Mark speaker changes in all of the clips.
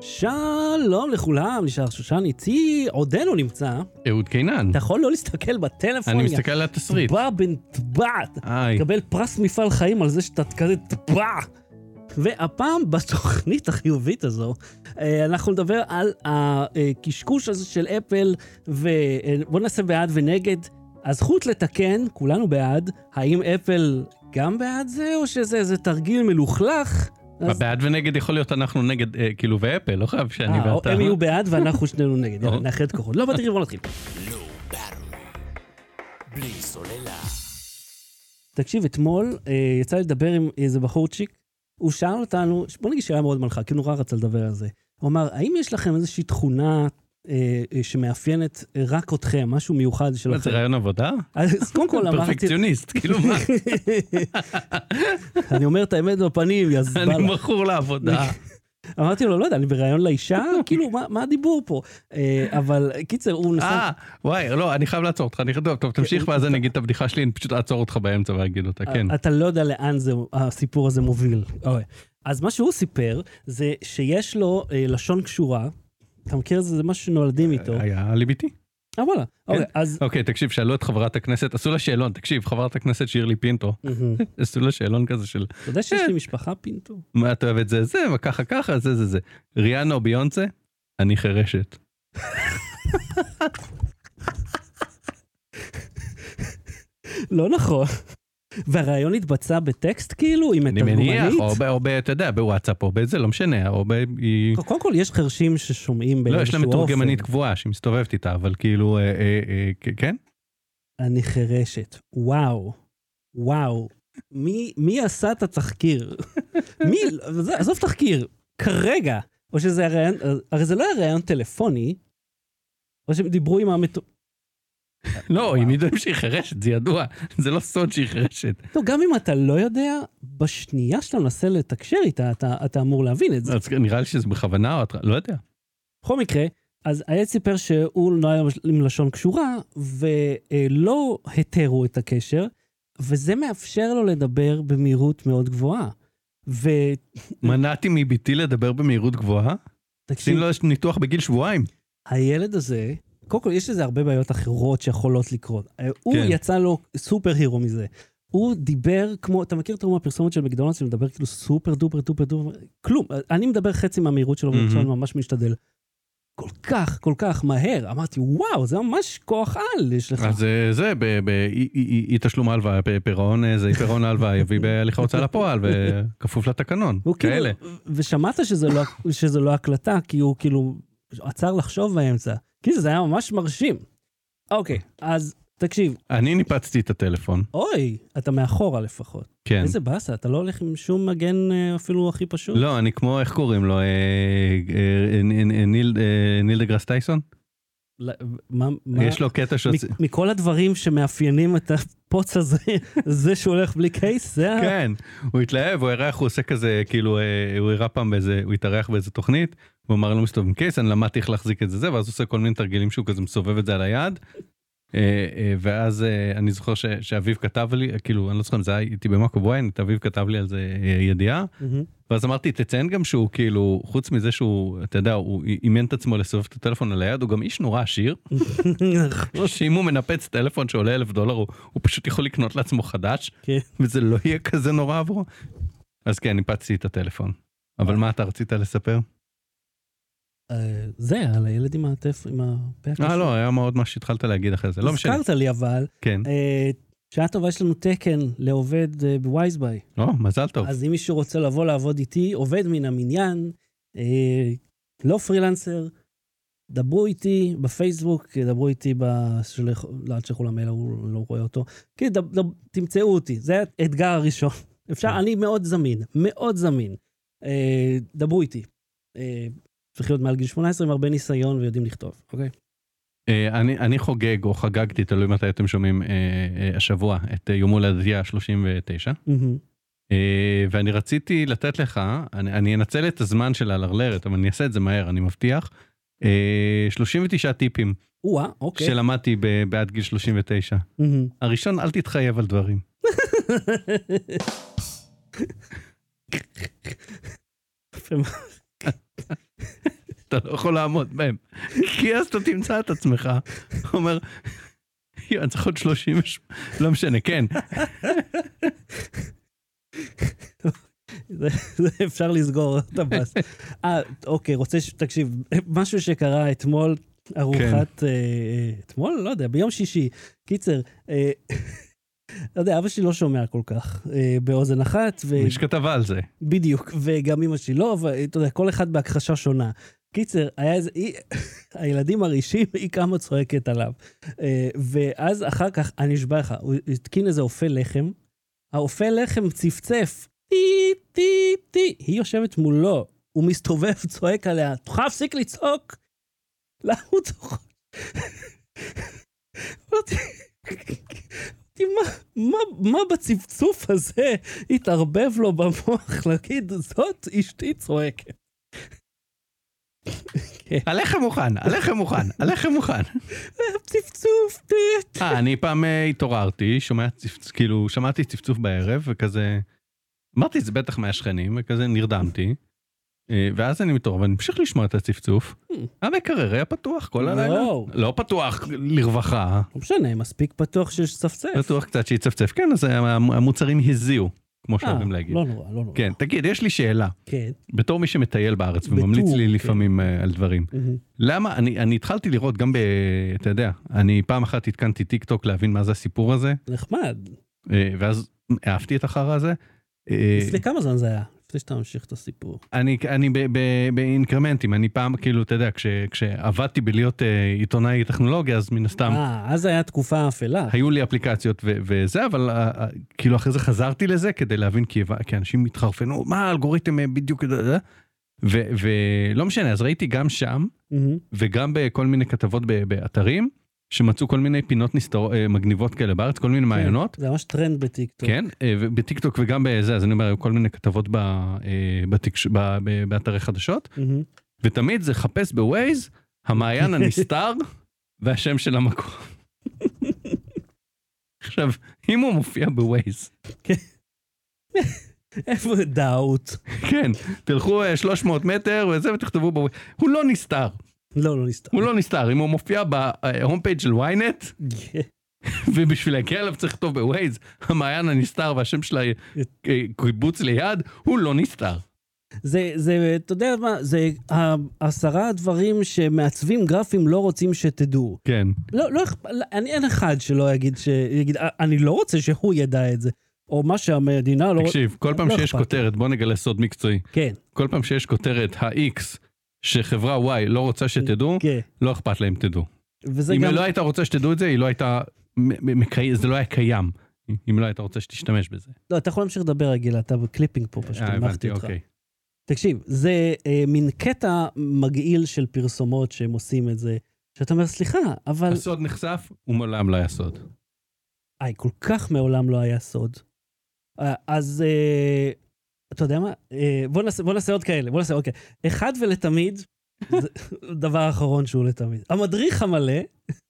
Speaker 1: שלום לכולם, נשאר שושן איתי, עודנו נמצא.
Speaker 2: אהוד קינן.
Speaker 1: אתה יכול לא להסתכל בטלפון,
Speaker 2: אני
Speaker 1: יא
Speaker 2: מסתכל על התסריט.
Speaker 1: טבע בן טבעת.
Speaker 2: היי.
Speaker 1: תקבל פרס מפעל חיים על זה שאתה כזה טבע. והפעם בתוכנית החיובית הזו, אה, אנחנו נדבר על הקשקוש הזה של אפל, ובואו נעשה בעד ונגד. הזכות לתקן, כולנו בעד, האם אפל גם בעד זה, או שזה איזה תרגיל מלוכלך? אז-
Speaker 2: בעד ונגד יכול להיות אנחנו נגד, אה, כאילו, ואפל, לא חייב שאני
Speaker 1: אה,
Speaker 2: ואתה. אוקיי.
Speaker 1: הם יהיו בעד ואנחנו שנינו נגד, יאללה,
Speaker 2: או.
Speaker 1: נאחד כוחות. לא, אבל תראי, בוא נתחיל.
Speaker 3: בלי סוללה.
Speaker 1: תקשיב, אתמול אה, יצא לי לדבר עם איזה בחורצ'יק, הוא שאל אותנו, בוא נגיד שאלה מאוד מלכה, כי הוא נורא רצה לדבר על זה. הוא אמר, האם יש לכם איזושהי תכונה אה, אה, שמאפיינת אה, רק אתכם, משהו מיוחד
Speaker 2: מה,
Speaker 1: שלכם?
Speaker 2: זה רעיון עבודה?
Speaker 1: אז קודם כל אמרתי,
Speaker 2: פרפקציוניסט, כאילו מה,
Speaker 1: אני אומר את האמת בפנים, יא זבאלה.
Speaker 2: אני מכור לעבודה.
Speaker 1: אמרתי לו, לא יודע, אני בריאיון לאישה? כאילו, מה מה הדיבור פה? אה, אבל קיצר, הוא נסע...
Speaker 2: אה, וואי, לא, אני חייב לעצור אותך, אני חייב, טוב, טוב, תמשיך ואז אני אגיד את הבדיחה שלי, אני פשוט אעצור אותך באמצע ואגיד אותה, כן.
Speaker 1: אתה לא יודע לאן זה, הסיפור הזה מוביל. אוי. אז מה שהוא סיפר, זה שיש לו אה, לשון קשורה. אתה מכיר את זה? זה משהו שנולדים איתו.
Speaker 2: היה ליביתי.
Speaker 1: אה, וואלה. אוקיי, אז...
Speaker 2: אוקיי, תקשיב, שאלו את חברת הכנסת, עשו לה שאלון, תקשיב, חברת הכנסת שירלי פינטו,
Speaker 1: מהמם.
Speaker 2: עשו לה שאלון כזה של
Speaker 1: אתה יודע
Speaker 2: כן.
Speaker 1: שיש לי משפחה, פינטו?
Speaker 2: מה את אוהבת זה זה, וככה ככה, זה זה זה. ריאנה או ביונסה? אני חירשת.
Speaker 1: לא נכון. והרעיון התבצע בטקסט כאילו, עם
Speaker 2: אני מניח,
Speaker 1: מתרגמנית?
Speaker 2: או ב- או ב... אתה יודע, בוואטסאפ, או בזה, לא משנה, או ב... היא-
Speaker 1: קודם כל, יש חרשים ששומעים
Speaker 2: לא, יש לה
Speaker 1: באיזשהו
Speaker 2: מתורגמנית קבועה שהיא מסתובבת איתה, אבל כאילו, אה, אה, אה, כ- כן?
Speaker 1: אני חירשת. וואו. וואו. מי, מי עשה את התחקיר? מי, זה- עזוב תחקיר, כרגע. או שזה היה ראיון, הרי זה לא היה ראיון טלפוני, או שהם דיברו עם המתו...
Speaker 2: לא, הם יודעים שהיא חירשת, זה ידוע, זה לא סוד שהיא חירשת.
Speaker 1: לא, גם אם אתה לא יודע, בשנייה שאתה מנסה לתקשר איתה, אתה, אתה אמור להבין את זה.
Speaker 2: אז נראה לי שזה בכוונה, או את- לא יודע.
Speaker 1: בכל מקרה, אז הילד סיפר שהוא לא היה עם לשון קשורה, ולא התרו את הקשר, וזה מאפשר לו לדבר במהירות מאוד גבוהה. ותקשיב,
Speaker 2: מנעתי מביתי לדבר במהירות גבוהה? עושים לו ניתוח בגיל שבועיים.
Speaker 1: הילד הזה, קודם כל יש לזה הרבה בעיות אחרות שיכולות לקרות. אה, הוא
Speaker 2: כן.
Speaker 1: יצא לו סופר הירו מזה. הוא דיבר כמו, אתה מכיר את רום הפרסומת של מקדונלדס, שהוא מדבר כאילו סופר דופר דופר דופר, כלום. אני מדבר חצי מהמהירות שלו,
Speaker 2: מהמם.
Speaker 1: ועכשיו אני ממש משתדל. כל כך, כל כך מהר. אמרתי, וואו, זה ממש כוח על יש לך.
Speaker 2: אז אה, זה, ב- ב- אי- אי אי תשלום הלוואה, פ- פירעון, אה, זה פירעון ההלוואה יביא בהליך ההוצאה לפועל, וכפוף לתקנון,
Speaker 1: הוא כאילו-
Speaker 2: כאלה.
Speaker 1: ושמעת שזה לא, שזה לא הקלטה, כי הוא כאילו עצר לחשוב באמצע. כאילו, זה היה ממש מרשים. אוקיי, אז תקשיב,
Speaker 2: אני ניפצתי את הטלפון,
Speaker 1: אוי, אתה מאחורה לפחות.
Speaker 2: כן.
Speaker 1: איזה באסה, אתה לא הולך עם שום מגן אה, אפילו הכי פשוט?
Speaker 2: לא, אני כמו, איך קוראים לו, אה, אה, נ- נ- ניל אה, ניל דה גראס טייסון?
Speaker 1: לא, מה, מה?
Speaker 2: יש לו קטע שעושה...
Speaker 1: מ- מכל הדברים שמאפיינים את הפוץ הזה, זה שהוא הולך בלי קייס, זה ה...
Speaker 2: כן, הוא התלהב, הוא אירח, הוא עושה כזה, כאילו, אה, הוא הראה פעם באיזה, הוא התארח באיזה תוכנית, הוא אמר, לא מסתובב עם קייס, אני למדתי איך להחזיק את זה זה, ואז הוא עושה כל מיני תרגילים שהוא כזה מסובב את זה על היד. אה, אה, ואז אה, אני זוכר ש- שאביב כתב לי, אה, כאילו, אני לא זוכר אם זה היה איתי במאקו בוויינט, אביב כתב לי על זה אה, ידיעה,
Speaker 1: מהמם.
Speaker 2: ואז אמרתי, תציין גם שהוא כאילו, חוץ מזה שהוא, אתה יודע, הוא אימן את עצמו לסובב את הטלפון על היד, הוא גם איש נורא עשיר, לא, שאם הוא מנפץ טלפון שעולה אלף דולר, הוא, הוא פשוט יכול לקנות לעצמו חדש,
Speaker 1: כן.
Speaker 2: וזה לא יהיה כזה נורא עבורו. אז כן, ניפצתי את הטלפון. אבל מה אתה רצית לספר?
Speaker 1: אה, זה, על הילד עם הטף, עם הפה הקשור.
Speaker 2: אה, לא, היה מאוד מה שהתחלת להגיד אחרי זה, לא משנה.
Speaker 1: הזכרת לי אבל,
Speaker 2: כן.
Speaker 1: אה, שעה טובה, יש לנו תקן לעובד אה, בווייזביי.
Speaker 2: או, לא, מזל טוב.
Speaker 1: אז אם מישהו רוצה לבוא לעבוד איתי, עובד מן המניין, אה, לא פרילנסר, דברו איתי בפייסבוק, דברו איתי בשלח... לא, אל תשלחו למייל, הוא לא רואה אותו. כן, דב, דב, תמצאו אותי, זה האתגר הראשון. אפשר,
Speaker 2: כן.
Speaker 1: אני מאוד זמין, מאוד זמין. אה, דברו איתי. אה, צריך להיות מעל גיל 18 עם הרבה ניסיון ויודעים לכתוב, אוקיי?
Speaker 2: אה, אני, אני חוגג, או חגגתי, תלוי מתי אתם שומעים, אה, אה, השבוע, את אה, יום הולדתי ה-39.
Speaker 1: מהמם.
Speaker 2: אה, ואני רציתי לתת לך, אני, אני אנצל את הזמן של הלרלרת, אבל אני אעשה את זה מהר, אני מבטיח. אה, 39 טיפים
Speaker 1: או-אה, אוקיי.
Speaker 2: שלמדתי ב- בעד גיל 39.
Speaker 1: מהמם.
Speaker 2: הראשון, אל תתחייב על דברים. שאתה לא יכול לעמוד בהם. כי אז אתה תמצא את עצמך, אומר, "יואו, אני צריך עוד 38, לא משנה, כן,
Speaker 1: זה זה אפשר לסגור את הבאס. אה, אוקיי, רוצה ש... תקשיב, משהו שקרה אתמול, ארוחת... אה, אתמול? לא יודע, ביום שישי. קיצר, אה, לא יודע, אבא שלי לא שומע כל כך אה, באוזן אחת, ו...
Speaker 2: יש כתבה על זה.
Speaker 1: בדיוק, וגם אמא שלי לא, ואתה יודע, כל אחד בהכחשה שונה. קיצר, היה איזה... היא... הילדים מרעישים, היא קמה צועקת עליו. אה, ואז אחר כך, אני נשבע לך, הוא התקין איזה אופה לחם, האופה לחם צפצף, טי, טי, טי, היא יושבת מולו, הוא מסתובב, צועק עליה, תוכל להפסיק לצעוק? למה הוא צוחק? אמרתי, אמרתי, "מה- מה- מה בצפצוף הזה התערבב לו במוח להגיד, זאת אשתי צועקת.
Speaker 2: הלחם מוכן, הלחם מוכן, הלחם מוכן.
Speaker 1: צפצוף, טי.
Speaker 2: אה, אני פעם אה, התעוררתי, שומע צפצוף, כאילו, שמעתי צפצוף בערב, וכזה... אמרתי, זה בטח מהשכנים, וכזה נרדמתי. אה, ואז אני מתעורר, ואני ממשיך לשמוע את הצפצוף.
Speaker 1: Hmm.
Speaker 2: המקרר היה פתוח כל הלילה.
Speaker 1: וואו.
Speaker 2: לא פתוח לרווחה,
Speaker 1: לא משנה, מספיק פתוח שיש צפצף.
Speaker 2: בטוח קצת שיצפצף. כן, אז המ- המוצרים הזיעו, כמו שאוהבים להגיד.
Speaker 1: לא נורא, לא נורא.
Speaker 2: כן, תגיד, יש לי שאלה.
Speaker 1: כן.
Speaker 2: בתור מי שמטייל בארץ
Speaker 1: בטור,
Speaker 2: וממליץ לי
Speaker 1: כן.
Speaker 2: לפעמים אה, על דברים,
Speaker 1: מהמם.
Speaker 2: למה אני אני התחלתי לראות גם ב... אתה יודע, אני פעם אחת התקנתי טיק טוק להבין מה זה הסיפור הזה,
Speaker 1: נחמד.
Speaker 2: אה, ואז אהבתי את החרא הזה. אה,
Speaker 1: לפני כמה זמן זה היה? לפני שאתה ממשיך את הסיפור.
Speaker 2: אני אני ב- ב- באינקרמנטים, אני פעם כאילו, אתה יודע, כש- כשעבדתי בלהיות אה, עיתונאי טכנולוגיה, אז מן הסתם
Speaker 1: אה, אז היה תקופה אפלה.
Speaker 2: היו לי אפליקציות ו- וזה, אבל אה, אה, כאילו אחרי זה חזרתי לזה כדי להבין, כי הבנ- כי אנשים התחרפנו, מה האלגוריתם אה, בדיוק, אה, אה, אה." ו- ולא משנה, אז ראיתי גם שם,
Speaker 1: מהמם. כן.
Speaker 2: וגם בכל מיני כתבות ב- באתרים, שמצאו כל מיני פינות נסתר... אה, מגניבות כאלה בארץ, כל
Speaker 1: כן,
Speaker 2: מיני מעיינות.
Speaker 1: זה ממש טרנד בטיקטוק.
Speaker 2: כן, אה, ובטיקטוק וגם בזה, אז אני אומר, היו כל מיני כתבות ב, אה, בתקש, ב, ב, באתרי חדשות,
Speaker 1: מהמם.
Speaker 2: ותמיד זה חפש בווייז, המעיין הנסתר והשם של המקום. עכשיו, אם הוא מופיע בווייז,
Speaker 1: איפה דאוט?
Speaker 2: כן, תלכו אה, 300 מטר וזה ותכתבו בווייז, הוא לא נסתר,
Speaker 1: לא, לא נסתר.
Speaker 2: הוא לא נסתר, אם הוא מופיע בהום פייג' של ynet,
Speaker 1: כן.
Speaker 2: ובשביל להגיע אליו צריך לכתוב בווייז, המעיין הנסתר והשם של הקיבוץ ליד, הוא לא נסתר.
Speaker 1: זה, זה, אתה יודע מה, זה ה- עשרה הדברים שמעצבים גרפים לא רוצים שתדעו.
Speaker 2: כן.
Speaker 1: לא, לא אכפ... לא, אני אין אחד שלא יגיד, ש... יגיד, "אה, אני לא רוצה שהוא ידע את זה. או מה שהמדינה לא...
Speaker 2: תקשיב, כל פעם
Speaker 1: לא
Speaker 2: שיש
Speaker 1: אכפת.
Speaker 2: כותרת, בוא נגלה סוד מקצועי,
Speaker 1: כן,
Speaker 2: כל פעם שיש כותרת ה-X שחברה Y לא רוצה שתדעו,
Speaker 1: כן.
Speaker 2: לא אכפת להם תדעו.
Speaker 1: וזה
Speaker 2: אם
Speaker 1: גם...
Speaker 2: היא לא הייתה רוצה שתדעו את זה, היא לא הייתה, מ- מ- מקי- זה לא היה קיים. אם לא הייתה רוצה שתשתמש בזה.
Speaker 1: לא, אתה יכול להמשיך לדבר, רגיל, אתה בקליפינג פה פשוט,
Speaker 2: אה,
Speaker 1: המחתי
Speaker 2: הבנתי,
Speaker 1: אותך.
Speaker 2: אוקיי.
Speaker 1: תקשיב, זה אה, מין קטע מגעיל של פרסומות שהם עושים את זה, שאתה אומר, סליחה, אבל...
Speaker 2: הסוד נחשף, הוא מעולם לא היה סוד.
Speaker 1: איי, כל כך מעולם לא היה סוד. אה, אז אה, אתה יודע מה? אה, בוא נעשה, בוא נעשה עוד כאלה, בוא נעשה עוד כאלה. אחד ולתמיד, זה דבר אחרון שהוא לתמיד. המדריך המלא,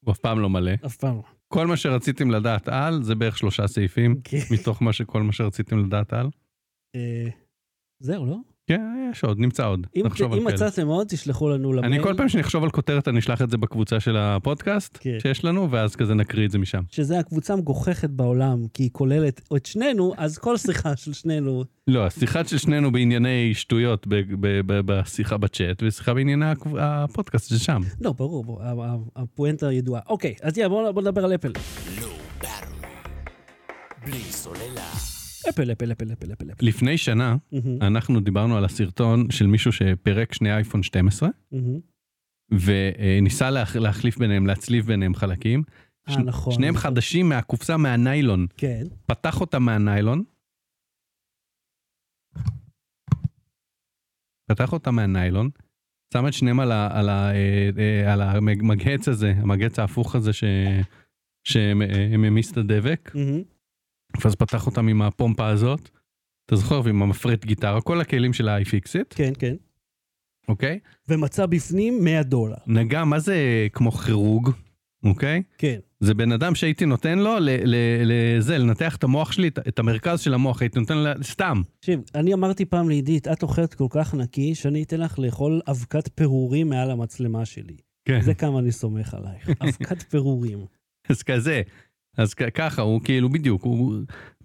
Speaker 2: הוא אף פעם לא מלא.
Speaker 1: אף פעם לא.
Speaker 2: כל מה שרציתם לדעת על, זה בערך שלושה סעיפים.
Speaker 1: כן.
Speaker 2: מתוך מה שכל מה שרציתם לדעת על?
Speaker 1: אה, זהו, לא?
Speaker 2: כן, יש עוד, נמצא עוד.
Speaker 1: אם,
Speaker 2: נחשוב
Speaker 1: אם
Speaker 2: על כאלה.
Speaker 1: מצאתם עוד, תשלחו לנו למייל.
Speaker 2: אני כל פעם שנחשוב על כותרת, אני אשלח את זה בקבוצה של הפודקאסט
Speaker 1: כן.
Speaker 2: שיש לנו, ואז כזה נקריא את זה משם.
Speaker 1: שזה הקבוצה המגוחכת בעולם, כי היא כוללת את שנינו, אז כל שיחה של שנינו,
Speaker 2: לא, השיחה של שנינו בענייני שטויות ב- ב- ב- בשיחה בצ'אט, ושיחה בענייני הקב- הפודקאסט ששם.
Speaker 1: לא, ברור, ברור, ה- ה- הפואנטה ידועה. אוקיי, אז יאללה, בואו בוא נדבר על אפל.
Speaker 3: לא בלי סוללה.
Speaker 1: אפל, אפל, אפל, אפל, אפל, אפל.
Speaker 2: לפני שנה
Speaker 1: מהמם,
Speaker 2: אנחנו דיברנו על הסרטון של מישהו שפירק שני אייפון 12,
Speaker 1: מהמם.
Speaker 2: וניסה להחליף ביניהם, להצליב ביניהם חלקים.
Speaker 1: אה,
Speaker 2: שני-
Speaker 1: נכון.
Speaker 2: שניהם חדשים מהקופסה מהניילון.
Speaker 1: כן.
Speaker 2: פתח אותה מהניילון. פתח אותה מהניילון, שם את שניהם על, ה, על, ה, אה, אה, על המגהץ הזה, המגהץ ההפוך הזה ש, שממיס את הדבק,
Speaker 1: מהמם.
Speaker 2: ואז פתח אותם עם הפומפה הזאת, אתה זוכר, ועם המפרט גיטרה, כל הכלים של ה-iFixit,
Speaker 1: כן, כן.
Speaker 2: אוקיי?
Speaker 1: ומצא בפנים 100 דולר.
Speaker 2: נגע, מה זה כמו חירוג? אוקיי?
Speaker 1: כן.
Speaker 2: זה בן אדם שהייתי נותן לו ל- ל- לזה, לנתח את המוח שלי, את- את המרכז של המוח, הייתי נותן לה סתם.
Speaker 1: תקשיב, אני אמרתי פעם לעידית, את אוכלת כל כך נקי, שאני אתן לך לאכול אבקת פירורים מעל המצלמה שלי.
Speaker 2: כן.
Speaker 1: זה כמה אני סומך עלייך. אבקת פירורים.
Speaker 2: אז כזה. אז כ- ככה, הוא כאילו, בדיוק, הוא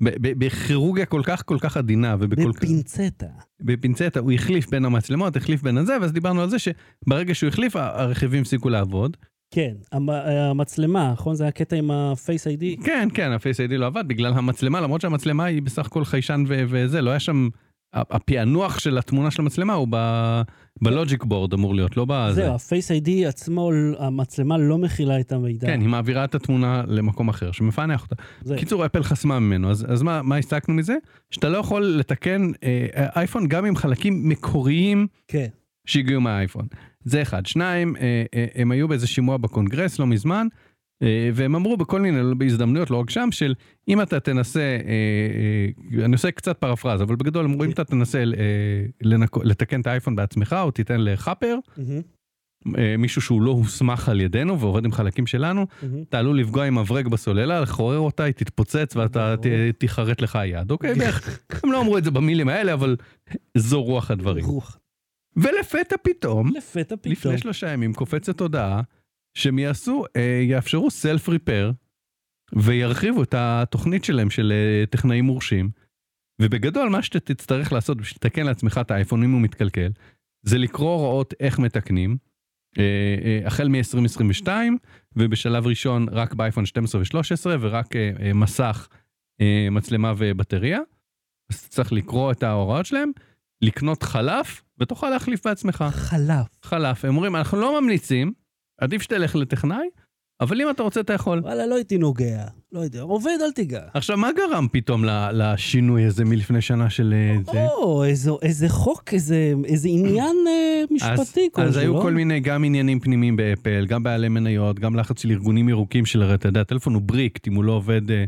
Speaker 2: ב- ב- בכירורגיה כל כך כל כך עדינה ובכל כך...
Speaker 1: בפינצטה.
Speaker 2: בפינצטה, הוא החליף בין המצלמות, החליף בין הזה, ואז דיברנו על זה שברגע שהוא החליף, ה- הרכיבים הפסיקו לעבוד.
Speaker 1: כן, המ- המצלמה, נכון? זה היה הקטע עם ה-Face ID.
Speaker 2: כן, כן, הפייס איי-די לא עבד בגלל המצלמה, למרות שהמצלמה היא בסך הכל חיישן ו- וזה, לא היה שם... ה- הפענוח של התמונה של המצלמה הוא ב- בלוג'יק בורד אמור להיות, לא בזה.
Speaker 1: זהו, ה-Face ID עצמו, המצלמה לא מכילה את המידע.
Speaker 2: כן, היא מעבירה את התמונה למקום אחר שמפענח אותה.
Speaker 1: זה-
Speaker 2: קיצור, אפל חסמה ממנו, אז, אז מה, מה הסתכנו מזה? שאתה לא יכול לתקן אה, אייפון גם עם חלקים מקוריים
Speaker 1: כן.
Speaker 2: שהגיעו מהאייפון. זה אחד. שניים, אה, אה, הם היו באיזה שימוע בקונגרס לא מזמן, אה, והם אמרו בכל מיני בהזדמנויות, לא רק שם, של אם אתה תנסה, אה, אה, אני עושה קצת פרפרז, אבל בגדול אמרו אם אתה תנסה אה, לנק... לתקן את האייפון בעצמך, או תיתן לחאפר,
Speaker 1: מהמם,
Speaker 2: אה, מישהו שהוא לא הוסמך על ידינו ועובד עם חלקים שלנו,
Speaker 1: מהמם.
Speaker 2: אתה עלול לפגוע עם מברג בסוללה, לחורר אותה, היא תתפוצץ ואתה ת,
Speaker 1: ברור.
Speaker 2: תיחרט לך היד, אוקיי? בערך, הם לא אמרו את זה במילים האלה, אבל זו רוח הדברים.
Speaker 1: רוח.
Speaker 2: ולפתע פתאום,
Speaker 1: לפתע פתאום.
Speaker 2: לפני שלושה ימים קופצת הודעה שהם יעשו, אה, יאפשרו סלף ריפר וירחיבו את התוכנית שלהם של אה, טכנאים מורשים. ובגדול מה שאתה תצטרך לעשות בשביל לתקן לעצמך את האייפון אם הוא מתקלקל, זה לקרוא הוראות איך מתקנים, אה, אה, החל מ-2022 ובשלב ראשון רק באייפון 12 ו-13 ורק אה, אה, מסך, אה, מצלמה ובטריה. אז צריך לקרוא את ההוראות שלהם, לקנות חלף ותוכל להחליף בעצמך.
Speaker 1: חלף.
Speaker 2: חלף, הם אומרים, אנחנו לא ממליצים, עדיף שתלך לטכנאי, אבל אם אתה רוצה, אתה יכול.
Speaker 1: וואלה, לא הייתי נוגע. לא יודע. עובד, אל תיגע.
Speaker 2: עכשיו, מה גרם פתאום ל- לשינוי הזה מלפני שנה של אה, זה?
Speaker 1: או, איזו- איזה חוק, איזה איזה עניין אה, משפטי כלשהו,
Speaker 2: אז היו
Speaker 1: לא?
Speaker 2: כל מיני גם עניינים פנימיים באפל, גם בעלי מניות, גם לחץ של ארגונים ירוקים של, הרי אתה יודע, הטלפון הוא בריקט, אם הוא לא עובד אה,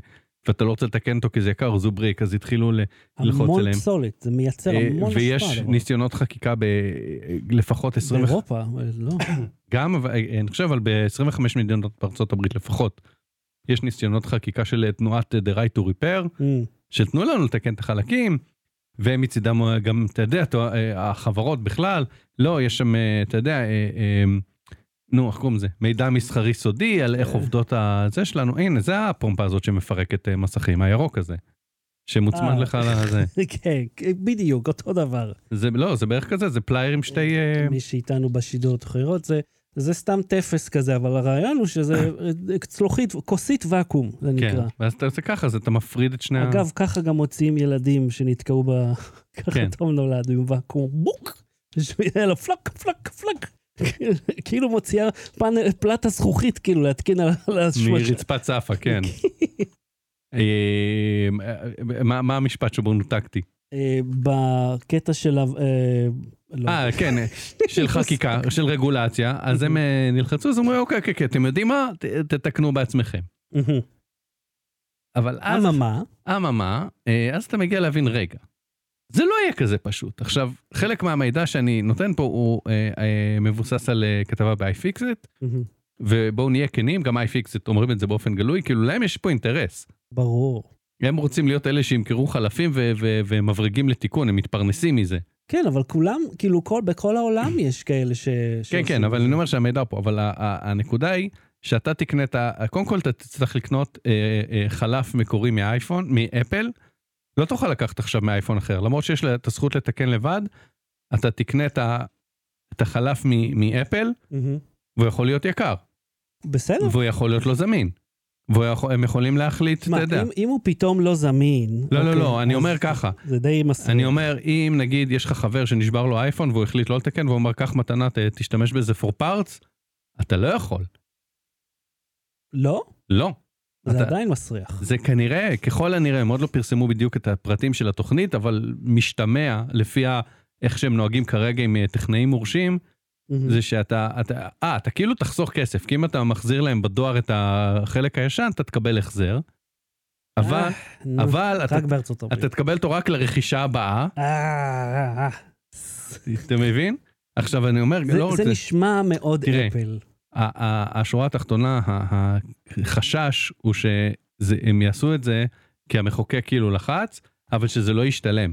Speaker 2: ואתה לא רוצה לתקן אותו כי זה יקר, אז הוא בריק, אז התחילו ל- ללחוץ
Speaker 1: המון
Speaker 2: עליהם.
Speaker 1: פסולת, זה מייצר
Speaker 2: אה,
Speaker 1: המון השפעה.
Speaker 2: ויש
Speaker 1: הדבר.
Speaker 2: ניסיונות חקיקה אה, בלפחות 20,
Speaker 1: באירופה, אבל לא.
Speaker 2: גם, אבל- אה, אני חושב, אבל ב-25 מדינות בארצות הברית לפחות, יש ניסיונות חקיקה של אה, תנועת אה, The Right to Repair,
Speaker 1: אמ,
Speaker 2: שתנו לנו לתקן את החלקים, והם מצידם אה, גם, אתה יודע, אתה- אה, החברות בכלל, לא, יש שם, אה, אתה יודע, אה, אה, נו, איך קוראים לזה? מידע מסחרי סודי על איך
Speaker 1: אה.
Speaker 2: עובדות ה- זה שלנו, הנה, זה הפומפה הזאת שמפרקת אה, מסכים, הירוק הזה, שמוצמד
Speaker 1: אה.
Speaker 2: לך לזה.
Speaker 1: כן, כן, בדיוק, אותו דבר.
Speaker 2: זה לא, זה בערך כזה, זה פליירים שתי... אה,
Speaker 1: מי שאיתנו בשידור תוכל לראות, זה- זה סתם תפס כזה, אבל הרעיון הוא שזה אה, צלוחית, כוסית ואקום, זה
Speaker 2: כן, אה.
Speaker 1: נקרא.
Speaker 2: ואז אתה עושה ככה, אז אתה מפריד את שני ה...
Speaker 1: אגב, ככה גם מוציאים ילדים שנתקעו ב... ככה
Speaker 2: כן.
Speaker 1: תום נולד, עם ואקום, בוק! שיהיה לו פלק, פלק, פלק. כאילו מוציאה פאנל- פלטה זכוכית, כאילו להתקין על על השמש.
Speaker 2: מרצפת צפה, כן. אה, מה מה המשפט שבו נותקתי?
Speaker 1: אה, בקטע של... ה- אה, לא.
Speaker 2: אה, כן, של חקיקה, של רגולציה, אז הם אה, נלחצו, אז אמרו, אוקיי, אוקיי, אוקיי, אתם יודעים מה? ת- תתקנו בעצמכם.
Speaker 1: מהמם.
Speaker 2: אבל אז,
Speaker 1: אממה,
Speaker 2: אממה, אה, אז אתה מגיע להבין, רגע, זה לא יהיה כזה פשוט. עכשיו, חלק מהמידע שאני נותן פה הוא אה, אה, מבוסס על אה, כתבה ב-iFixit,
Speaker 1: מהמם.
Speaker 2: ובואו נהיה כנים, גם iFixit אומרים את זה באופן גלוי, כאילו להם יש פה אינטרס.
Speaker 1: ברור.
Speaker 2: הם רוצים להיות אלה שימכרו חלפים ו- ו- ומברגים לתיקון, הם מתפרנסים מזה.
Speaker 1: כן, אבל כולם, כאילו, כל, בכל העולם יש כאלה ש...
Speaker 2: כן,
Speaker 1: שעושים
Speaker 2: כן, אבל
Speaker 1: את
Speaker 2: אני
Speaker 1: זה.
Speaker 2: אומר שהמידע פה, אבל ה- ה- הנקודה היא שאתה תקנה את ה... קודם כל אתה תצטרך לקנות אה, אה, חלף מקורי מאייפון, מאפל, לא תוכל לקחת עכשיו מאייפון אחר, למרות שיש לה את הזכות לתקן לבד, אתה תקנה את ה- את החלף מ- מאפל,
Speaker 1: מהמם.
Speaker 2: והוא יכול להיות יקר,
Speaker 1: אה. בסדר.
Speaker 2: והוא יכול להיות לא זמין, והם יכולים להחליט, אתה
Speaker 1: תשמע,
Speaker 2: יודע.
Speaker 1: אם, אם הוא פתאום לא זמין...
Speaker 2: לא, לא,
Speaker 1: אוקיי,
Speaker 2: לא, אני
Speaker 1: אז
Speaker 2: אומר ככה.
Speaker 1: זה די מסריח.
Speaker 2: אני אומר, אם נגיד יש לך חבר שנשבר לו אייפון והוא החליט לא לתקן, והוא אומר, קח מתנה, ת- תשתמש בזה for parts, אתה לא יכול.
Speaker 1: לא?
Speaker 2: לא.
Speaker 1: זה
Speaker 2: אתה-
Speaker 1: עדיין מסריח.
Speaker 2: זה כנראה, ככל הנראה, הם עוד לא פרסמו בדיוק את הפרטים של התוכנית, אבל משתמע לפי ה... איך שהם נוהגים כרגע עם אה, טכנאים מורשים,
Speaker 1: מהמם.
Speaker 2: זה שאתה, אתה, אה, אתה כאילו תחסוך כסף, כי אם אתה מחזיר להם בדואר את החלק הישן, אתה תקבל החזר. אבל,
Speaker 1: אה, נו,
Speaker 2: אבל אתה,
Speaker 1: רק בארצות הברית.
Speaker 2: אתה תקבל אותו רק לרכישה הבאה,
Speaker 1: אה, אה, אה.
Speaker 2: אתה מבין? עכשיו אני אומר,
Speaker 1: זה,
Speaker 2: לא
Speaker 1: זה
Speaker 2: רוצה-
Speaker 1: נשמע מאוד
Speaker 2: תראה,
Speaker 1: אפל.
Speaker 2: ה- ה- השורה התחתונה, ה- החשש הוא שהם יעשו את זה כי המחוקק כאילו לחץ, אבל שזה לא ישתלם.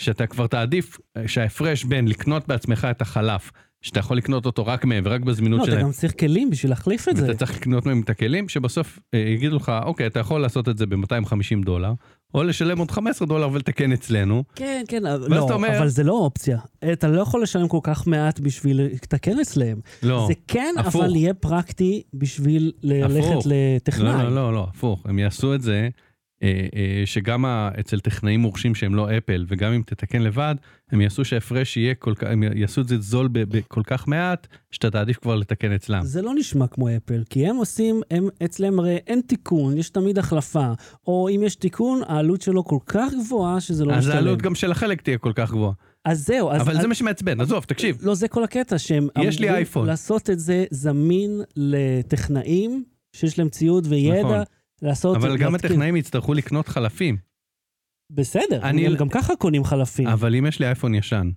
Speaker 2: שאתה כבר תעדיף, שההפרש בין לקנות בעצמך את החלף, שאתה יכול לקנות אותו רק מהם ורק בזמינות
Speaker 1: לא, אתה
Speaker 2: שלהם.
Speaker 1: גם צריך כלים בשביל להחליף את זה.
Speaker 2: ואתה צריך לקנות מהם את הכלים, שבסוף אה, יגידו לך, אוקיי, אתה יכול לעשות את זה ב-250 דולר, או לשלם עוד 15 דולר ולתקן אצלנו.
Speaker 1: כן, כן,
Speaker 2: ואז
Speaker 1: לא,
Speaker 2: אתה אומר-
Speaker 1: אבל זה לא אופציה. אתה לא יכול לשלם כל כך מעט בשביל לתקן אצלם.
Speaker 2: לא,
Speaker 1: זה כן,
Speaker 2: הפוך.
Speaker 1: אבל יהיה פרקטי בשביל ללכת
Speaker 2: הפוך. לא,
Speaker 1: לטכנאי.
Speaker 2: לא, לא, לא, הפוך, הם יעשו את זה, אה, אה, שגם ה- אצל טכנאים מורשים שהם לא אפל, וגם אם תתקן לבד, הם יעשו שההפרש יהיה כל כך, הם יעשו את זה זול ב- בכל כך מעט, שאתה תעדיף כבר לתקן אצלם.
Speaker 1: זה לא נשמע כמו אפל, כי הם עושים, הם, אצלם הרי אין תיקון, יש תמיד החלפה. או אם יש תיקון, העלות שלו כל כך גבוהה שזה לא
Speaker 2: אז
Speaker 1: משתלם.
Speaker 2: העלות גם של החלק תהיה כל כך גבוהה.
Speaker 1: אז זהו, אז...
Speaker 2: אבל
Speaker 1: אז...
Speaker 2: זה מה שמעצבן, עזוב, תקשיב.
Speaker 1: לא, זה כל הקטע, שהם
Speaker 2: יש לי
Speaker 1: אמורים
Speaker 2: אייפון.
Speaker 1: לעשות את זה זמין לטכנאים שיש להם ציוד וידע.
Speaker 2: נכון.
Speaker 1: לעשות...
Speaker 2: אבל גם
Speaker 1: לא להתקין.
Speaker 2: הטכנאים יצטרכו לקנות חלפים.
Speaker 1: בסדר,
Speaker 2: אני-
Speaker 1: הם גם ככה קונים חלפים.
Speaker 2: אבל אם יש לי אייפון ישן,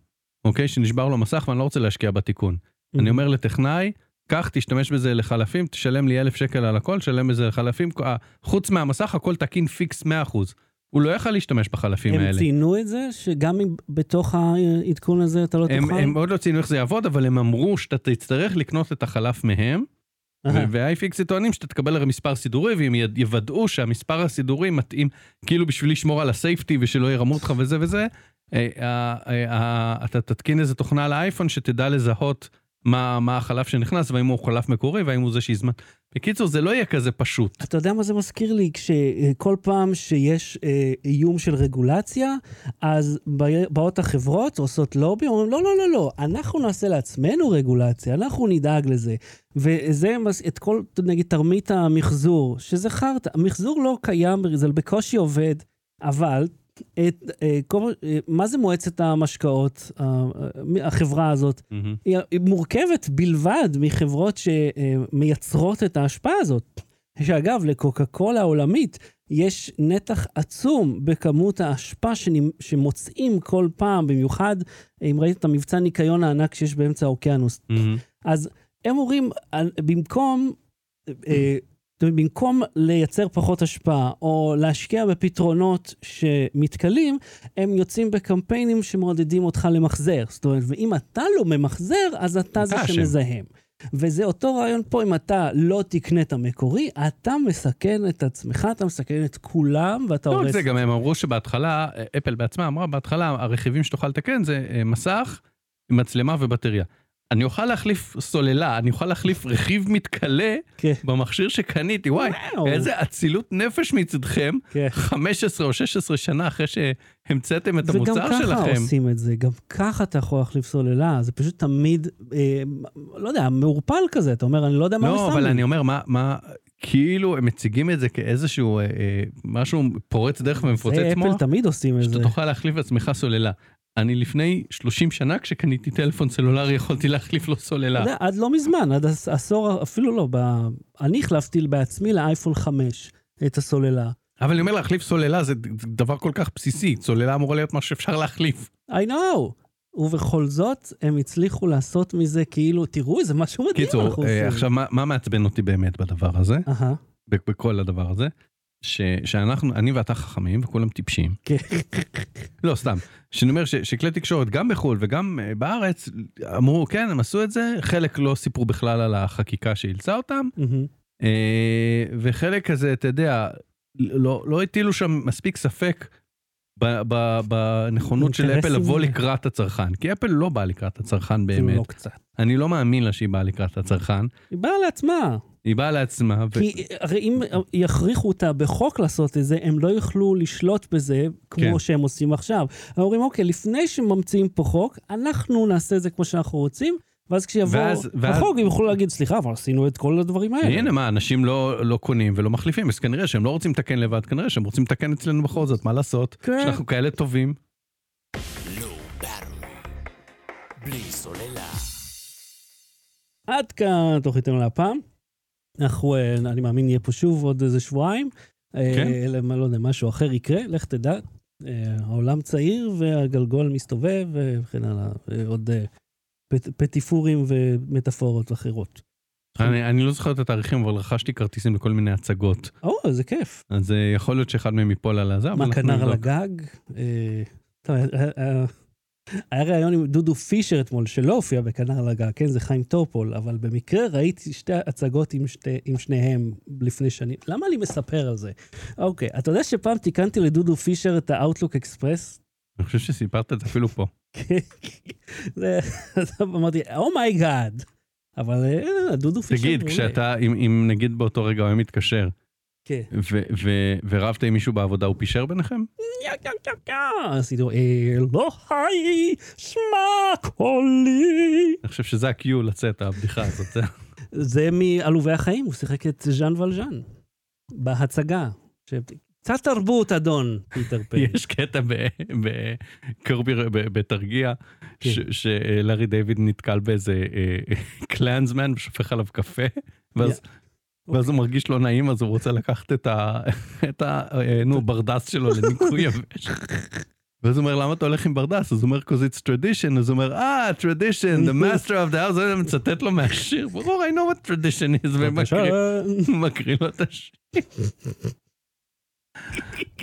Speaker 2: אוקיי, שנשבר לו מסך ואני לא רוצה להשקיע בתיקון,
Speaker 1: Mm.
Speaker 2: אני אומר לטכנאי, קח, תשתמש בזה לחלפים, תשלם לי אלף שקל על הכל, תשלם בזה לחלפים, אה, חוץ מהמסך הכל תקין פיקס 100%. הוא לא יכל להשתמש בחלפים
Speaker 1: הם
Speaker 2: האלה.
Speaker 1: ציינו את זה, שגם אם בתוך העדכון הזה אתה לא
Speaker 2: הם,
Speaker 1: תוכל?
Speaker 2: הם עוד לא ציינו איך זה יעבוד, אבל הם אמרו שאתה תצטרך לקנות את החלף מהם,
Speaker 1: אהה.
Speaker 2: והאי-פיקסי טוענים שאתה תקבל הרי מספר סידורי, והם י- יוודאו שהמספר הסידורי מתאים, כאילו בשביל לשמור על הסייפטי ושלא ירמו אותך וזה וזה, אה, אה, אה, אתה תתקין איזה תוכנה על האייפון שתדע לזהות מה מה החלף שנכנס, והאם הוא חלף מקורי, והאם הוא זה שהזמן. בקיצור, זה לא יהיה כזה פשוט.
Speaker 1: אתה יודע מה זה מזכיר לי? כשכל פעם שיש אה, איום של רגולציה, אז בא- באות החברות, עושות לובי, אומרים, לא, לא, לא, לא, אנחנו נעשה לעצמנו רגולציה, אנחנו נדאג לזה. וזה מס- את כל, נגיד, תרמית המחזור, שזה חרטא. המחזור לא קיים, זה בקושי עובד, אבל... את, אה, כל, אה, מה זה מועצת המשקאות, אה, אה, החברה הזאת? היא היא מורכבת בלבד מחברות שמייצרות את ההשפעה הזאת. שאגב, לקוקה קולה העולמית יש נתח עצום בכמות האשפה שנמ- שמוצאים כל פעם, במיוחד אם ראית את המבצע ניקיון הענק שיש באמצע האוקיינוס.
Speaker 2: מהמם.
Speaker 1: אז הם אומרים, על- במקום, אה, אתם יודעים, במקום לייצר פחות השפעה או להשקיע בפתרונות שמתכלים, הם יוצאים בקמפיינים שמעודדים אותך למחזר. זאת אומרת, ואם אתה לא ממחזר, אז אתה זה
Speaker 2: אתה אשם.
Speaker 1: שמזהם. וזה אותו רעיון פה, אם אתה לא תקנה את המקורי, אתה מסכן את עצמך, אתה מסכן את כולם, ואתה
Speaker 2: לא
Speaker 1: הורס...
Speaker 2: רק זה, גם הם אמרו שבהתחלה, אה, אפל בעצמה אמרה, בהתחלה הרכיבים שתוכל לתקן זה אה, מסך, מצלמה ובטריה. אני אוכל להחליף סוללה, אני אוכל להחליף רכיב מתכלה
Speaker 1: כן.
Speaker 2: במכשיר שקניתי, וואי,
Speaker 1: וואו.
Speaker 2: איזה אצילות נפש מצדכם,
Speaker 1: כן.
Speaker 2: 15 או 16 שנה אחרי שהמצאתם את
Speaker 1: וגם
Speaker 2: המוצר
Speaker 1: ככה
Speaker 2: שלכם.
Speaker 1: עושים את זה, גם ככה אתה יכול להחליף סוללה, זה פשוט תמיד, אה, לא יודע, מעורפל כזה, אתה אומר, אני לא יודע מה
Speaker 2: לא,
Speaker 1: הוא שם
Speaker 2: אבל
Speaker 1: לי.
Speaker 2: אני אומר, מה, מה, כאילו הם מציגים את זה כאיזשהו אה, אה, משהו פורץ דרך
Speaker 1: זה
Speaker 2: ומפוצץ מוח.
Speaker 1: אפל תמיד עושים את זה.
Speaker 2: שאתה תוכל להחליף לעצמך סוללה. אני לפני 30 שנה כשקניתי טלפון סלולרי יכולתי להחליף לו
Speaker 1: אתה
Speaker 2: סוללה.
Speaker 1: יודע, עד לא מזמן, עד עש- עשור, אפילו לא, ב- אני החלפתי בעצמי לאייפון 5 את הסוללה.
Speaker 2: אבל אני אומר להחליף סוללה זה ד- דבר כל כך בסיסי, סוללה אמורה להיות מה שאפשר להחליף.
Speaker 1: I know. ובכל זאת, הם הצליחו לעשות מזה כאילו, תראו, זה משהו מדהים. אנחנו
Speaker 2: קיצור, אה,
Speaker 1: עושים."
Speaker 2: עכשיו מה מה מעצבן אותי באמת בדבר הזה,
Speaker 1: אהה,
Speaker 2: ב- בכל הדבר הזה, ש- שאנחנו, אני ואתה חכמים וכולם טיפשים.
Speaker 1: כן.
Speaker 2: לא, סתם. שאני אומר ש- שכלי תקשורת גם בחו"ל וגם אה, בארץ אמרו כן, הם עשו את זה, חלק לא סיפרו בכלל על החקיקה שאילצה אותם.
Speaker 1: מהמם.
Speaker 2: אה, וחלק כזה, אתה יודע, לא, לא הטילו שם מספיק ספק ב, ב, בנכונות של אפל
Speaker 1: אינטרסים.
Speaker 2: לבוא לקראת הצרכן, כי אפל לא באה לקראת הצרכן
Speaker 1: אפילו
Speaker 2: באמת.
Speaker 1: לא קצת.
Speaker 2: אני לא מאמין לה שהיא באה לקראת הצרכן,
Speaker 1: היא באה לעצמה.
Speaker 2: היא באה לעצמה, ו...
Speaker 1: כי הרי אם יכריחו אותה בחוק לעשות את זה, הם לא יוכלו לשלוט בזה כמו
Speaker 2: כן.
Speaker 1: שהם עושים עכשיו. הם אומרים, אוקיי, לפני שממציאים פה חוק, אנחנו נעשה את זה כמו שאנחנו רוצים, ואז כשיבוא
Speaker 2: ואז- ואז-
Speaker 1: החוק, הם יוכלו להגיד, סליחה, אבל עשינו את כל הדברים האלה.
Speaker 2: הנה מה, אנשים לא, לא קונים ולא מחליפים, אז כנראה שהם לא רוצים לתקן לבד, כנראה שהם רוצים לתקן אצלנו בכל זאת, מה לעשות?
Speaker 1: כן.
Speaker 2: שאנחנו כאלה טובים.
Speaker 1: עד כאן תוכניתנו להפעם. אנחנו, אה, אני מאמין, נהיה פה שוב עוד איזה שבועיים.
Speaker 2: כן.
Speaker 1: כן. לא יודע, משהו אחר יקרה, לך תדע. אה, העולם צעיר והגלגול מסתובב אה, וכן הלאה. אה, עוד אה, פט- פטיפורים ומטאפורות אחרות.
Speaker 2: אני אני לא זוכר את התאריכים, אבל רכשתי כרטיסים לכל מיני הצגות.
Speaker 1: או, איזה כיף.
Speaker 2: אז אה, יכול להיות שאחד מהם ייפול על הזה, אבל
Speaker 1: מה,
Speaker 2: אנחנו
Speaker 1: כנר על
Speaker 2: נבדוק.
Speaker 1: הגג? אה, טוב, היה- היה- היה ראיון עם דודו פישר אתמול, שלא הופיע בכנר על הגג, כן, זה חיים טופול, אבל במקרה ראיתי שתי הצגות עם, שתי, עם שניהם לפני שנים. למה אני מספר על זה? אוקיי, אתה יודע שפעם תיקנתי לדודו פישר את האאוטלוק אקספרס?
Speaker 2: אני חושב שסיפרת את זה אפילו פה.
Speaker 1: זה- אז אמרתי, אומייגאד. אבל אה, דודו פישר...
Speaker 2: תגיד,
Speaker 1: מעולה.
Speaker 2: כשאתה, אם- אם נגיד באותו רגע הוא היה מתקשר,
Speaker 1: כן.
Speaker 2: ו- ו- ורבת עם מישהו בעבודה, הוא פישר ביניכם?
Speaker 1: יא יא יא יא, עשיתו אלוהי, שמע קולי.
Speaker 2: אני חושב שזה ה-Q לצאת, הבדיחה הזאת. זה-
Speaker 1: זה מעלובי החיים, הוא שיחק את ז'אן ולז'אן. בהצגה. ש- קצת תרבות, אדון, פיטר פן.
Speaker 2: יש קטע בקרבי, בתרגיע,
Speaker 1: כן.
Speaker 2: ש- שלארי דיוויד נתקל באיזה קלנזמן ושופך עליו קפה, ואז... ואז הוא מרגיש לא נעים, אז הוא רוצה לקחת את ה... את ה... אה, נו, ברדס שלו לניקוי יבש. ואז הוא אומר, למה אתה הולך עם ברדס? אז הוא אומר, because it's tradition, אז הוא אומר, אה, tradition, the master of the house, זה מצטט לו מהשיר, ברור, I know what tradition is, ומקריא
Speaker 1: בבקשה.
Speaker 2: מקריא לו את השיר.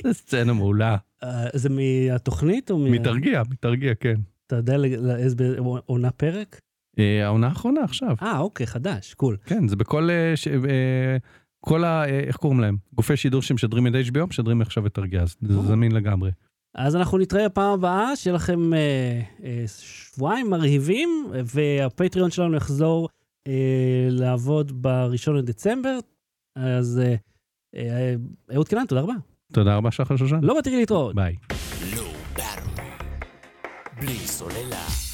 Speaker 2: זו סצנה מעולה.
Speaker 1: אה, זה מהתוכנית
Speaker 2: כן.
Speaker 1: או מה...
Speaker 2: מתרגיע, מתרגיע, כן.
Speaker 1: אתה יודע לאיזה עונה פרק?
Speaker 2: אה, העונה האחרונה עכשיו,
Speaker 1: אה, אוקיי, חדש, קול.
Speaker 2: כן, זה בכל... אה, ש- אה, כל ה... אה, איך קוראים להם? גופי שידור שמשדרים את HBO, משדרים עכשיו את תרגיע, אז זה זמין לגמרי.
Speaker 1: אז אנחנו נתראה פעם הבאה, שיהיה לכם אה, אה, שבועיים מרהיבים, והפטריון שלנו יחזור אה, לעבוד בראשון לדצמבר. אז אה, אה, אהוד קנן, תודה רבה.
Speaker 2: תודה רבה, שחר שושן.
Speaker 1: לא מתאים לי להתראות.
Speaker 2: ביי.
Speaker 3: לא ברור. בלי סוללה.